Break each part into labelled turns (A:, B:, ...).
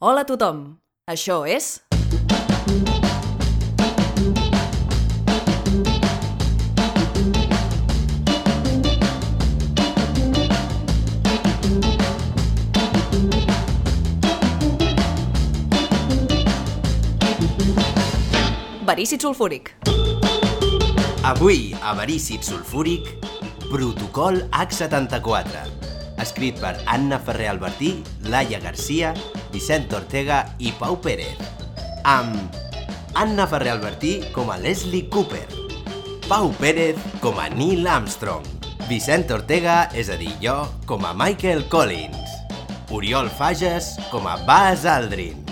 A: Hola a tothom! Això és... Verícid sulfúric.
B: Avui, a Verícid Sulfúric, Protocol H74. Escrit per Anna Ferrer Albertí, Laia Garcia, Vicent Ortega i Pau Pérez. Amb Anna Ferrer Albertí com a Leslie Cooper. Pau Pérez com a Neil Armstrong. Vicent Ortega, és a dir, jo, com a Michael Collins. Oriol Fages com a Buzz Aldrin.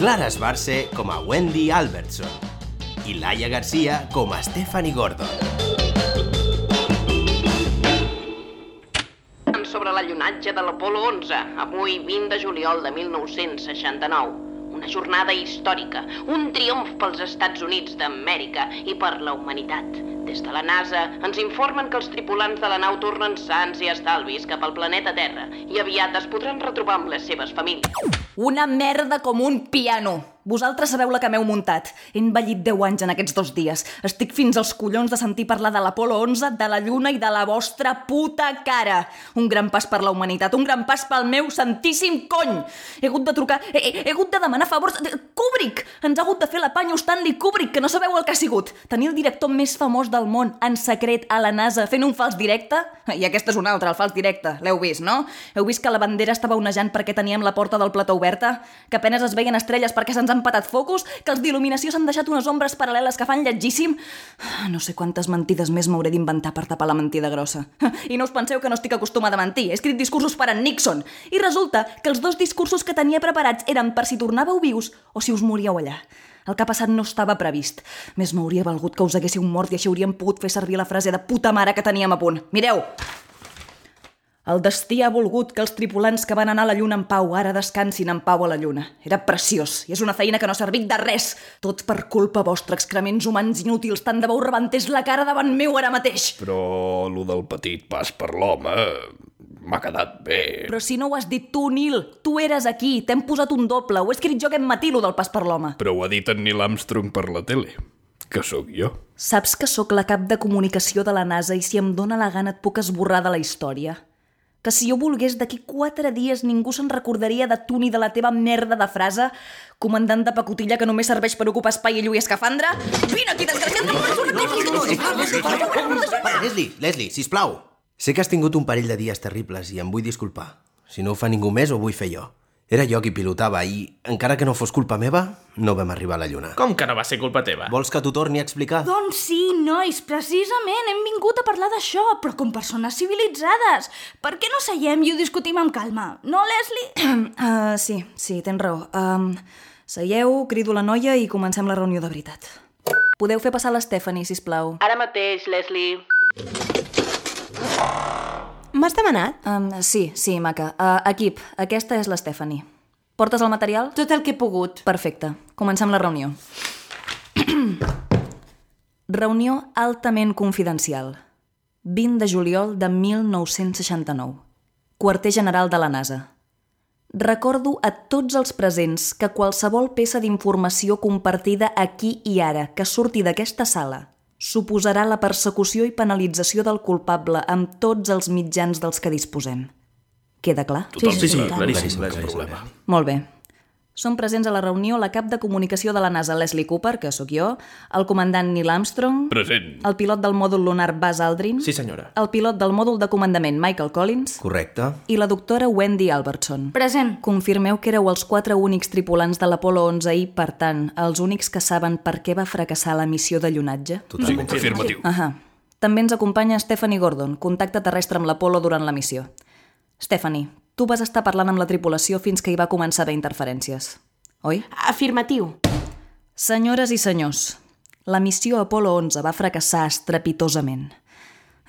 B: Clara Esbarce com a Wendy Albertson i Laia Garcia com a Stephanie Gordon.
C: sobre l'allunatge de l'Apolo 11, avui 20 de juliol de 1969. Una jornada històrica, un triomf pels Estats Units d'Amèrica i per la humanitat. Des de la NASA ens informen que els tripulants de la nau tornen sans i estalvis cap al planeta Terra i aviat es podran retrobar amb les seves famílies.
A: Una merda com un piano. Vosaltres sabeu la que m'heu muntat. He envellit 10 anys en aquests dos dies. Estic fins als collons de sentir parlar de l'Apolo 11, de la Lluna i de la vostra puta cara. Un gran pas per la humanitat, un gran pas pel meu santíssim cony. He hagut de trucar, he, he, he hagut de demanar favors... de- Kubrick! Ens ha hagut de fer la panyo Stanley Kubrick, que no sabeu el que ha sigut. Tenir el director més famós del món en secret a la NASA fent un fals directe? I aquesta és una altra, el fals directe. L'heu vist, no? Heu vist que la bandera estava onejant perquè teníem la porta del plató oberta? Que apenes es veien estrelles perquè se'ns han patat focus? Que els d'il·luminació s'han deixat unes ombres paral·leles que fan lletgíssim? Ah, No sé quantes mentides més m'hauré d'inventar per tapar la mentida grossa. I no us penseu que no estic acostumada a mentir. He escrit discursos per en Nixon. I resulta que els dos discursos que tenia preparats eren per si tornàveu vius o si us moríeu allà. El que ha passat no estava previst. Més m'hauria valgut que us haguéssiu mort i així hauríem pogut fer servir la frase de puta mare que teníem a punt. Mireu, el destí ha volgut que els tripulants que van anar a la Lluna en pau ara descansin en pau a la Lluna. Era preciós, i és una feina que no ha servit de res. Tot per culpa vostra, excrements humans inútils, tant de bo us rebentés la cara davant meu ara mateix.
D: Però lo del petit pas per l'home eh, m'ha quedat bé.
A: Però si no ho has dit tu, Nil, tu eres aquí, t'hem posat un doble, ho he escrit jo aquest matí, lo del pas per l'home.
D: Però ho ha dit en Neil Armstrong per la tele, que sóc jo.
A: Saps que sóc la cap de comunicació de la NASA i si em dóna la gana et puc esborrar de la història? Que si jo volgués d'aquí quatre dies ningú se'n recordaria de tu ni de la teva merda de frase comandant de pacotilla que només serveix per ocupar espai i lluir escafandra? Vine aquí, desgraciat! No, no, no,
B: Para, Leslie, Leslie, sisplau. Sé que has tingut un parell de dies terribles i em vull disculpar. Si no ho fa ningú més, ho vull fer jo. Era jo qui pilotava i, encara que no fos culpa meva, no vam arribar a la Lluna.
E: Com que no va ser culpa teva?
B: Vols que t'ho torni a explicar?
F: Doncs sí, nois, precisament hem vingut a parlar d'això, però com persones civilitzades. Per què no seiem i ho discutim amb calma? No, Leslie?
A: Uh, sí, sí, tens raó. Um, seieu, crido la noia i comencem la reunió de veritat. Podeu fer passar l'Estefani, sisplau.
C: Ara mateix, Leslie.
G: M'has demanat?
A: Um, sí, sí, maca. Uh, equip, aquesta és l'Estefani. Portes el material?
G: Tot el que he pogut.
A: Perfecte. Comencem la reunió. reunió altament confidencial. 20 de juliol de 1969. Quarter general de la NASA. Recordo a tots els presents que qualsevol peça d'informació compartida aquí i ara que surti d'aquesta sala suposarà la persecució i penalització del culpable amb tots els mitjans dels que disposem. Queda clar?
D: Tothom
F: sí, sí,
D: clar,
F: clar,
D: claríssim,
B: clar,
D: cap
B: clar,
D: problema.
A: Molt bé. Són presents a la reunió la cap de comunicació de la NASA, Leslie Cooper, que sóc jo, el comandant Neil Armstrong,
D: Present.
A: el pilot del mòdul lunar Buzz Aldrin,
E: Sí, senyora.
A: el pilot del mòdul de comandament Michael Collins
B: Correcte.
A: i la doctora Wendy Albertson.
F: Present.
A: Confirmeu que éreu els quatre únics tripulants de l'Apolo 11 i, per tant, els únics que saben per què va fracassar la missió de llunatge?
D: Sí, afirmatiu.
A: Ahà. També ens acompanya Stephanie Gordon, contacte terrestre amb l'Apolo durant la missió. Stephanie, tu vas estar parlant amb la tripulació fins que hi va començar a haver interferències, oi?
G: Afirmatiu.
A: Senyores i senyors, la missió Apolo 11 va fracassar estrepitosament.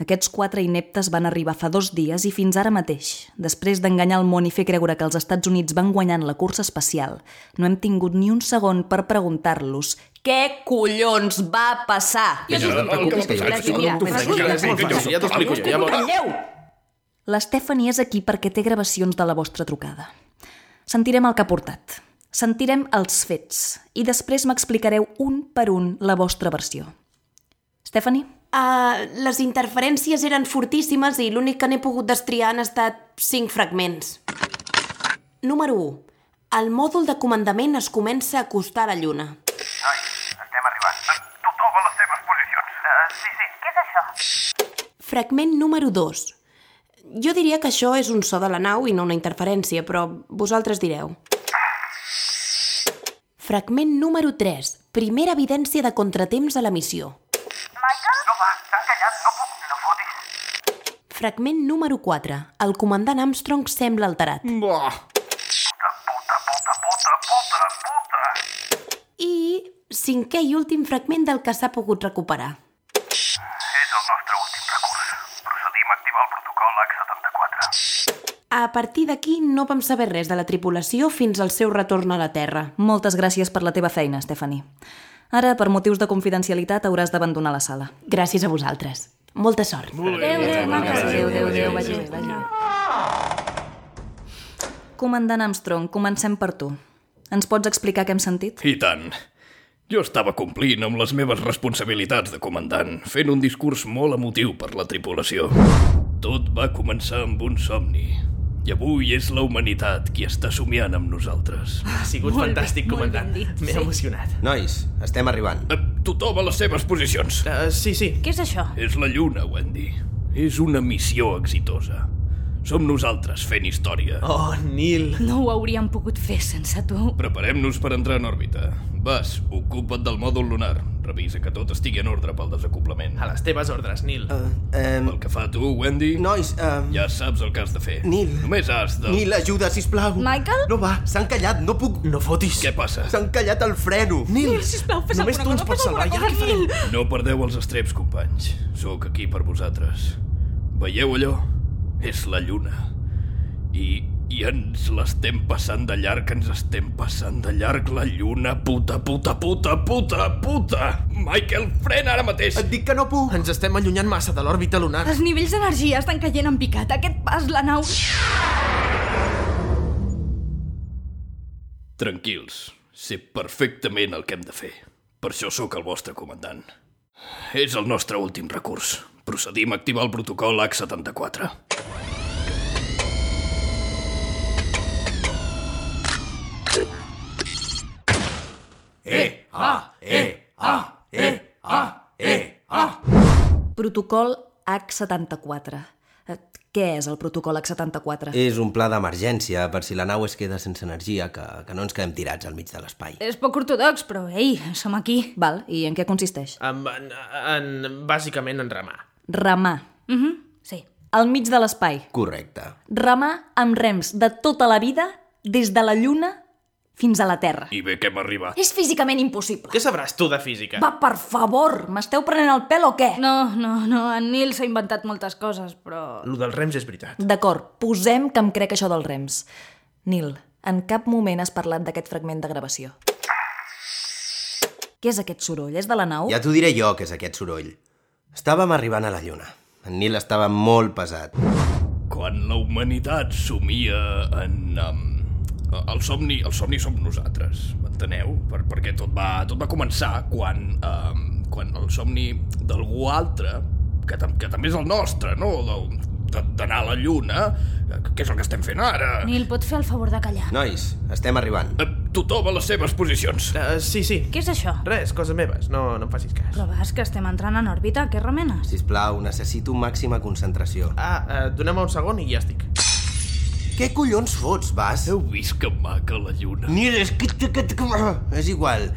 A: Aquests quatre ineptes van arribar fa dos dies i fins ara mateix, després d'enganyar el món i fer creure que els Estats Units van guanyant la cursa espacial, no hem tingut ni un segon per preguntar-los què collons va passar?
B: Jo no, no, no, que
G: Gràcies, mira.
E: Ja t'ho explico jo, ja veuràs.
A: La Stephanie és aquí perquè té gravacions de la vostra trucada. Sentirem el que ha portat. Sentirem els fets. I després m'explicareu un per un la vostra versió. Stephanie?
G: Uh, les interferències eren fortíssimes i l'únic que n'he pogut destriar han estat cinc fragments. Número 1. El mòdul de comandament es comença a acostar a la Lluna.
H: Nois, estem arribant. Ah, Tothom a les seves posicions. Uh, sí, sí. Què és això?
G: Fragment número 2. Jo diria que això és un so de la nau i no una interferència, però vosaltres direu. Fragment número 3. Primera evidència de contratemps a la missió.
H: Michael? No va, t'ha callat. No puc. No fotis.
G: Fragment número 4. El comandant Armstrong sembla alterat.
E: Buah.
H: Puta, puta, puta, puta, puta.
G: I cinquè i últim fragment del que s'ha pogut recuperar.
H: És el nostre últim recurs. Procedim a activar el protocol H74.
G: A partir d'aquí no vam saber res de la tripulació fins al seu retorn a la Terra.
A: Moltes gràcies per la teva feina, Stephanie. Ara, per motius de confidencialitat, hauràs d'abandonar la sala.
G: Gràcies a vosaltres. Molta sort.
F: Adéu, adéu, maca. Adéu, adéu, adéu,
A: Comandant Armstrong, comencem per tu. Ens pots explicar què hem sentit?
D: I tant. Jo estava complint amb les meves responsabilitats de comandant, fent un discurs molt emotiu per la tripulació. Tot va començar amb un somni. I avui és la humanitat qui està somiant amb nosaltres.
E: Ha sigut molt fantàstic, comandant. M'he sí. emocionat.
B: Nois, estem arribant.
D: Eh, Tothom a les seves posicions.
E: Uh, sí, sí.
F: Què és
B: Ah.
F: això?
D: És la lluna, Wendy. És una missió exitosa. Som nosaltres fent història.
E: Oh, Nil.
F: No ho hauríem pogut fer sense tu.
D: Preparem-nos per entrar en òrbita. Vas, ocupa't del mòdul lunar. Revisa que tot estigui en ordre pel desacoblament.
E: A les teves ordres, Nil. Uh,
B: Um,
D: Pel que fa a tu, Wendy,
B: nois, um,
D: ja saps el que has de fer.
B: Nil.
D: Només has de...
B: Nil, ajuda, sisplau.
F: Michael?
B: No va, s'han callat, no puc.
E: no fotis.
D: Què passa?
B: S'han callat el freno.
E: Nil,
F: sisplau, fes
E: Només tu
F: alguna
E: ens
F: cosa, fes
E: pots salvar,
F: alguna
E: ja què
F: cosa,
E: farem?
D: No perdeu els estreps, companys. Sóc aquí per vosaltres. Veieu allò? És la lluna. I, i ens l'estem passant de llarg, ens estem passant de llarg la lluna. Puta, puta, puta, puta, puta! Michael, frena ara mateix!
B: Et dic que no puc.
E: Ens estem allunyant massa de l'òrbita lunar.
F: Els nivells d'energia estan caient en picat. Aquest pas, la nau...
D: Tranquils, sé perfectament el que hem de fer. Per això sóc el vostre comandant. És el nostre últim recurs. Procedim a activar el protocol H74.
B: E, A, E, A, E, A, E, A.
A: Protocol H74. Eh, Què és el protocol H74?
B: És un pla d'emergència per si la nau es queda sense energia, que, que no ens quedem tirats al mig de l'espai.
F: És poc ortodox, però, ei, som aquí.
A: Val, i en què consisteix?
E: En, en, en, bàsicament en remar.
A: Remar.
F: Mhm, sí.
A: Al mig de l'espai.
B: Correcte.
A: Remar amb rems de tota la vida, des de la Lluna fins a la Terra.
D: I bé que hem arribat.
A: És físicament impossible.
E: Què sabràs tu de física?
A: Va, per favor, m'esteu prenent el pèl o què?
F: No, no, no, en Nil s'ha inventat moltes coses, però...
E: Lo dels rems és veritat.
A: D'acord, posem que em crec això dels rems. Nil, en cap moment has parlat d'aquest fragment de gravació. Què és aquest soroll? És de la nau?
B: Oh. Ja t'ho diré jo, que és aquest soroll. Estàvem arribant a la lluna. En Nil estava molt pesat.
D: Quan la humanitat somia en... Um, el somni, el somni som nosaltres, m'enteneu? Per, perquè tot va, tot va començar quan, um, quan el somni d'algú altre, que, tam, que també és el nostre, no? De- de- D'anar a la lluna, que- que és el que estem fent ara.
F: Nil, pots fer el favor de callar?
B: Nois, estem arribant.
D: Eh, Tothom a les seves posicions.
E: Uh, sí, sí.
F: Què és això?
E: Res, coses meves. No, no em facis cas.
F: Però vas, que estem entrant en òrbita, què remenes?
B: Sisplau, necessito màxima concentració.
E: Ah, uh, donem un segon i ja estic.
B: Què collons fots, vas?
D: Heu vist que maca la lluna?
B: Nil, és que... que- que- que- És igual.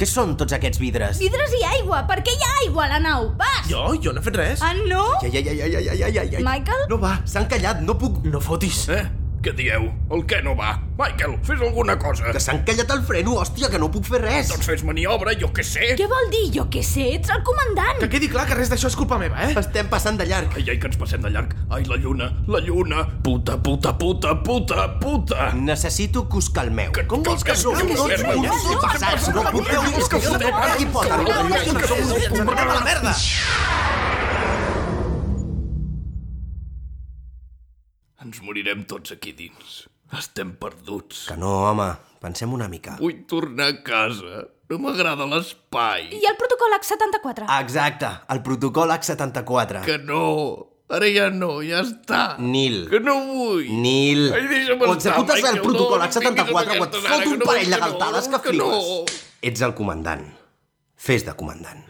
B: Què són tots aquests vidres?
F: Vidres i aigua! Per què hi ha aigua a la nau? Vas!
E: Jo? Jo no he fet res.
F: Ah, no?
B: Ai, ai, ai, ai, ai, ai, ai, ai, ai.
F: Michael?
B: No va, s'han callat, no puc...
E: No fotis.
D: Eh? Què dieu? El què no va? Michael, fes alguna cosa.
B: Que s'han callat el freno, hòstia, que no puc fer res.
D: Doncs fes maniobra, jo què sé.
F: Què vol dir? Jo què sé, ets el comandant!
E: Que quedi clar que res d'això és culpa meva, eh?
B: Estem passant de llarg.
D: Ai, ai, que ens passem de llarg. Ai, la lluna, la lluna. Puta, puta, puta, puta, puta.
B: Necessito que us calmeu.
D: Que- Com vols que
B: No, no, no, no,
D: calmeu?
B: no, passats, no, no, no, no, que us fotem per aquí, pota. No, no, no, no, no,
E: Ens
B: no,
E: emportem a la merda!
D: Ens morirem tots aquí dins. Estem perduts.
B: Que no, home, pensem una mica.
D: Vull tornar a casa. No m'agrada l'espai.
F: I el protocol H74?
B: Exacte, el protocol H74.
D: Que no. Ara ja no, ja està.
B: Nil.
D: Que no vull.
B: Nil,
D: Ai, deixa'm
B: o
D: estar,
B: executes
D: Michael,
B: el protocol
D: no, no em
B: H74
D: vinguis
B: o et
D: amb aquestes
B: fot
D: ara, que
B: un
D: no
B: parell
D: vull
B: de
D: que no,
B: galtades que
D: que no.
B: flipes. Ets el comandant. Fes de comandant.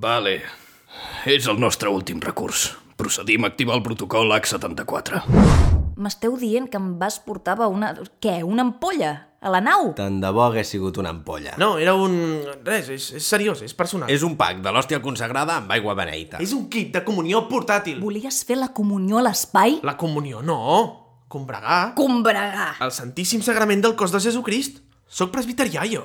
D: Vale. És el nostre últim recurs. Procedim a activar el protocol H74.
A: M'esteu dient que em vas portar a una... Què, una ampolla? A la nau?
B: Tant de bo hagués sigut una ampolla.
E: No, era un... Res, és, és seriós, és personal.
B: És un pack de l'hòstia consagrada amb aigua beneita.
E: és un kit de comunió portàtil.
A: Volies fer la comunió a l'espai?
E: La comunió, no. Combregar.
A: Combregar!
E: El Santíssim Sagrament del cos de Jesucrist. Soc presbiterià, jo.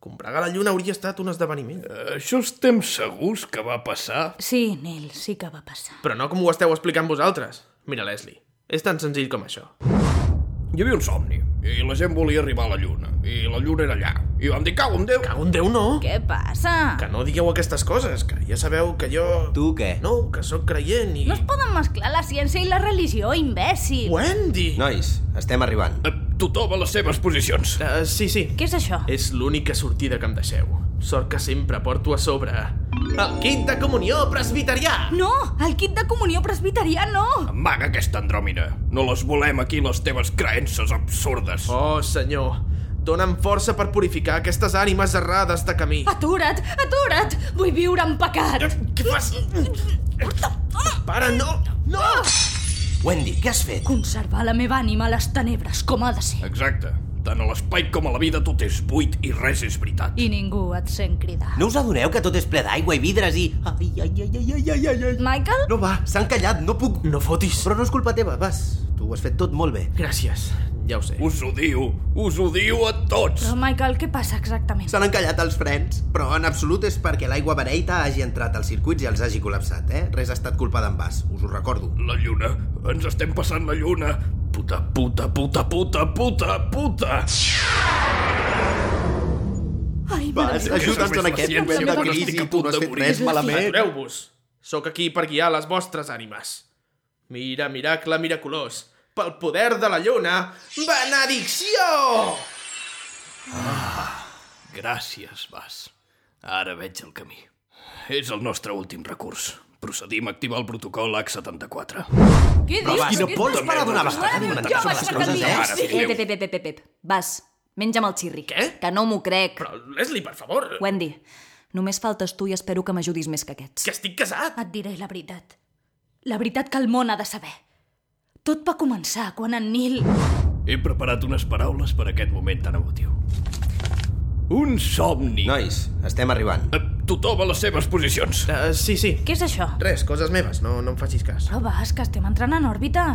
E: Combregar la lluna hauria estat un esdeveniment.
D: Això estem segurs que va passar?
F: Sí, Nil, sí que va passar.
E: Però no com ho esteu explicant vosaltres. Mira, Leslie, és tan senzill com això.
D: Hi havia un somni, i la gent volia arribar a la lluna, i la lluna era allà. I vam dir, cau en Déu!
E: Cago en Déu, no.
F: Què passa?
E: Que no digueu aquestes coses, que ja sabeu que jo...
B: Tu què?
E: No, que sóc creient i...
F: No es poden mesclar la ciència i la religió, imbècil.
E: Wendy!
B: Nois, estem arribant.
D: Eh, Tothom a les seves posicions.
E: Uh, sí, sí.
F: Què és això?
E: És l'única sortida que em deixeu. Sort que sempre porto a sobre... El kit de comunió presbiterià!
F: No, el kit de comunió presbiterià no!
D: Amaga aquesta andròmina. No les volem aquí, les teves creences absurdes.
E: Oh, senyor, dona'm força per purificar aquestes ànimes errades de camí.
F: Atura't, atura't! Vull viure en pecat!
E: Eh, Què fas? Para, no! No!
B: Wendy, què has fet?
F: Conservar la meva ànima a les tenebres, com ha de ser.
D: Exacte. Tant a l'espai com a la vida tot és buit i res és veritat.
F: I ningú et sent cridar.
B: No us adoneu que tot és ple d'aigua i vidres i... Ai, ai, ai, ai, ai, ai, ai, ai.
F: Michael?
B: No va, s'han callat, no puc...
E: No fotis.
B: Però no és culpa teva, vas. Tu ho has fet tot molt bé.
E: Gràcies, ja ho sé.
D: Us odio, us odio a tots.
F: Però, Michael, què passa exactament?
B: S'han encallat els frens, però en absolut és perquè l'aigua beneita hagi entrat als circuits i els hagi col·lapsat, eh? Res ha estat culpa d'en Bas, us ho recordo.
D: La lluna, ens estem passant la lluna. Puta, puta, puta, puta, puta, puta.
F: Ai,
B: Vas,
F: mare meva.
B: ajuda'ns en
D: la
B: aquest
D: ciència
B: moment de
D: quan
B: crisi,
D: estic a
B: tu
D: punt
B: no has
D: de
B: fet
D: morir.
B: res malament.
E: Atureu-vos. Sóc aquí per guiar les vostres ànimes. Mira, miracle miraculós. Pel poder de la lluna, benedicció!
D: Gràcies, Bas. Ara veig el camí. És el nostre últim recurs. Procedim a activar el protocol H74.
F: Què
B: Però
F: dius?
B: vas, quina
F: Què
B: por
F: dius?
B: és parar d'una vegada.
F: Mare meva,
B: inventant
F: jo
B: aquestes
F: vaig cercar el
B: coses,
F: dia.
B: eh?
D: Sí.
A: Ep, ep, ep, ep, ep, ep, ep. Vas, menja'm el xirri.
E: Què?
A: Que no m'ho crec. Però...
E: Però, Leslie, per favor,
A: Wendy, només faltes tu i espero que m'ajudis més que aquests.
E: que estic casat.
F: Et diré la veritat. La veritat que el món ha de saber. Tot va començar quan en Nil...
D: He preparat unes paraules per a aquest moment tan emotiu. Un somni.
B: Nois, estem arribant.
D: Eh, Tothom a les seves posicions.
E: Uh, sí, sí.
F: Què és això?
E: Res, coses meves, no, no em facis cas.
F: Però vas, que estem entrant en òrbita.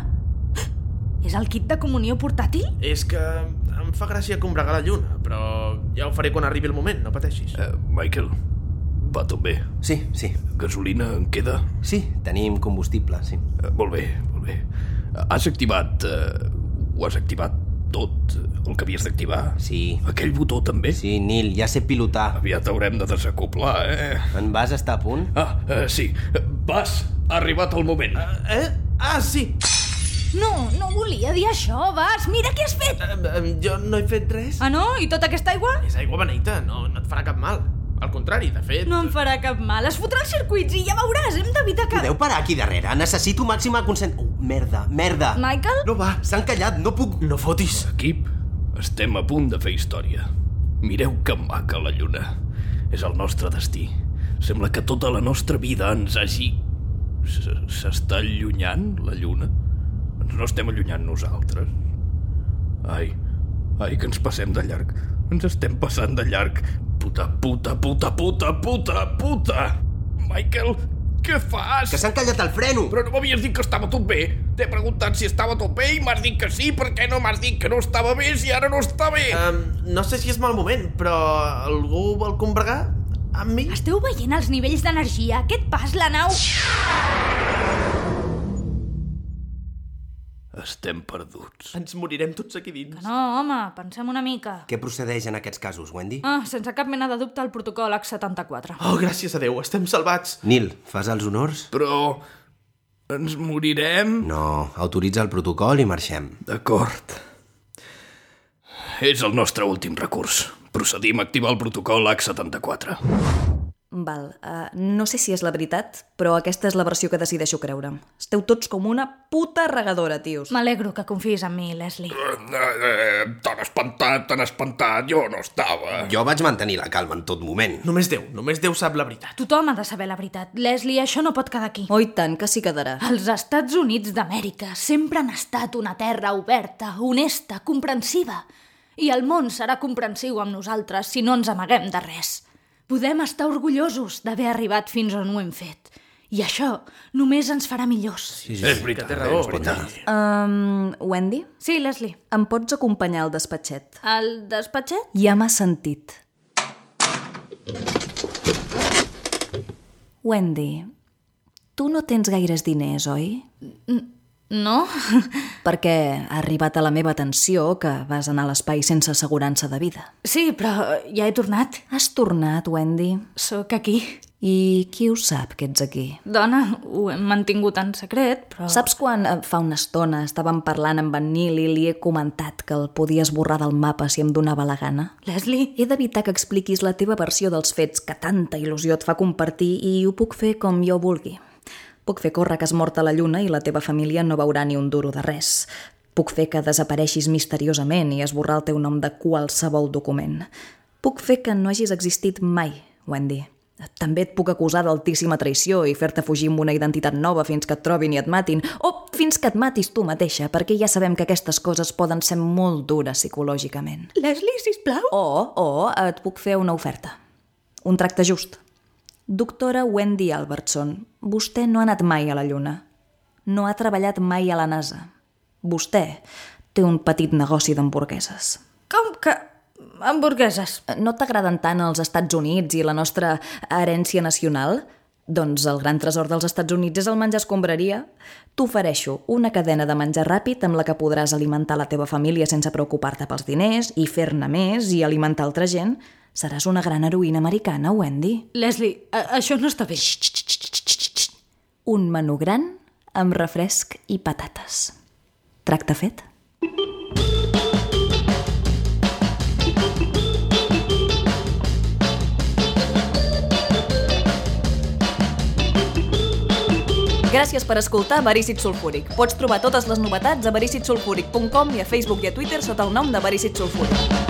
F: És el kit de comunió portàtil?
E: És que em fa gràcia combregar la lluna, però ja ho faré quan arribi el moment, no pateixis.
D: Eh, Michael, va tot bé.
B: Sí, sí,
D: Gasolina en queda?
B: sí, tenim combustible, sí.
D: Eh, molt bé, molt bé. Eh, Has activat... Eh, ho has activat tot eh, el que havies d'activar?
B: Sí.
D: Aquell botó també?
B: Sí, Nil, ja sé pilotar.
D: Aviat haurem de desacoplar, eh?
B: En Bas està a punt?
D: Ah, eh, sí. Eh, Bas, ha arribat el moment.
E: Eh? Ah, sí!
F: No, no volia dir això, vas. Mira què has fet!
E: Eh, eh, jo no he fet res.
F: Ah, no? I tota aquesta aigua?
E: És aigua beneita, no, no et farà cap mal. Al contrari, de fet...
F: No em farà cap mal. Es fotrà als circuits i ja veuràs. Hem d'evitar que...
B: Podeu parar aquí darrere? Necessito màxima consent... Oh, merda, merda!
F: Michael?
B: No va, s'han callat, no puc...
E: No fotis.
D: Equip, estem a punt de fer història. Mireu que maca la lluna. És el nostre destí. Sembla que tota la nostra vida ens hagi... s- S'està allunyant, la lluna? Ens no estem allunyant nosaltres. Ai, ai, que ens passem de llarg. Ens estem passant de llarg. Puta, puta, puta, puta, puta, puta! Michael, què fas?
B: Que s'han callat el freno!
D: Però no m'havies dit que estava tot bé. T'he preguntat si estava tot bé i m'has dit que sí, per què no m'has dit que no estava bé si ara no està bé?
E: Um, no sé si és mal moment, però algú vol combregar amb mi?
F: Esteu veient els nivells d'energia? Aquest pas, la nau...
D: Estem perduts.
E: Ens morirem tots aquí dins.
F: No, home, pensem una mica.
B: Què procedeix en aquests casos, Wendy?
F: Ah, sense cap mena de dubte, el protocol H74.
E: Oh, gràcies a Déu, estem salvats.
B: Nil, fas els honors?
D: Però... ens morirem?
B: No, autoritza el protocol i marxem.
D: D'acord. És el nostre últim recurs. Procedim a activar el protocol H74.
A: Val, uh, no sé si és la veritat, però aquesta és la versió que decideixo creure. Esteu tots com una puta regadora, tios.
F: M'alegro que confiïs en mi, Leslie.
D: eh, Tan espantat, tan espantat, jo no estava.
B: Jo vaig mantenir la calma en tot moment.
E: Només Déu, només Déu sap la veritat.
F: Tothom ha de saber la veritat. Leslie, això no pot quedar aquí.
A: Oh, i tant, que s'hi quedarà.
F: Els Estats Units d'Amèrica sempre han estat una terra oberta, honesta, comprensiva. I el món serà comprensiu amb nosaltres si no ens amaguem de res. Podem estar orgullosos d'haver arribat fins on ho hem fet. I això només ens farà millors. Sí,
D: És veritat,
E: Té raó,
D: és veritat.
A: Um, Wendy,
F: sí Leslie.
A: em pots acompanyar al despatxet?
F: El despatxet?
A: Ja m'ha sentit. Wendy, tu no tens gaires diners, oi?
F: No?
A: Perquè ha arribat a la meva atenció que vas anar a l'espai sense assegurança de vida.
F: Sí, però ja he tornat.
A: Has tornat, Wendy.
F: Sóc aquí.
A: I qui ho sap que ets aquí?
F: Dona, ho hem mantingut en secret, però...
A: Saps quan eh, fa una estona estàvem parlant amb en Nil i li he comentat que el podia esborrar del mapa si em donava la gana?
F: Leslie,
A: He d'evitar que expliquis la teva versió dels fets que tanta il·lusió et fa compartir i ho puc fer com jo vulgui. Puc fer córrer que has mort a la lluna i la teva família no veurà ni un duro de res. Puc fer que desapareixis misteriosament i esborrar el teu nom de qualsevol document. Puc fer que no hagis existit mai, Wendy. També et puc acusar d'altíssima traïció i fer-te fugir amb una identitat nova fins que et trobin i et matin, o fins que et matis tu mateixa, perquè ja sabem que aquestes coses poden ser molt dures psicològicament.
F: Leslie, sisplau.
A: O, o eh, et puc fer una oferta. Un tracte just. Doctora Wendy Albertson, vostè no ha anat mai a la Lluna. No ha treballat mai a la NASA. Vostè té un petit negoci d'hamburgueses.
F: Com que... Hamburgueses.
A: No t'agraden tant els Estats Units i la nostra herència nacional? Doncs el gran tresor dels Estats Units és el menjar escombraria. T'ofereixo una cadena de menjar ràpid amb la que podràs alimentar la teva família sense preocupar-te pels diners i fer-ne més i alimentar altra gent. Seràs una gran heroïna americana, Wendy.
F: Leslie, a això no està bé.
A: Un menú gran amb refresc i patates. Tracte fet? Gràcies per escoltar Verícit Sulfúric. Pots trobar totes les novetats a vericitsulfúric.com i a Facebook i a Twitter sota el nom de Verícit Sulfúric.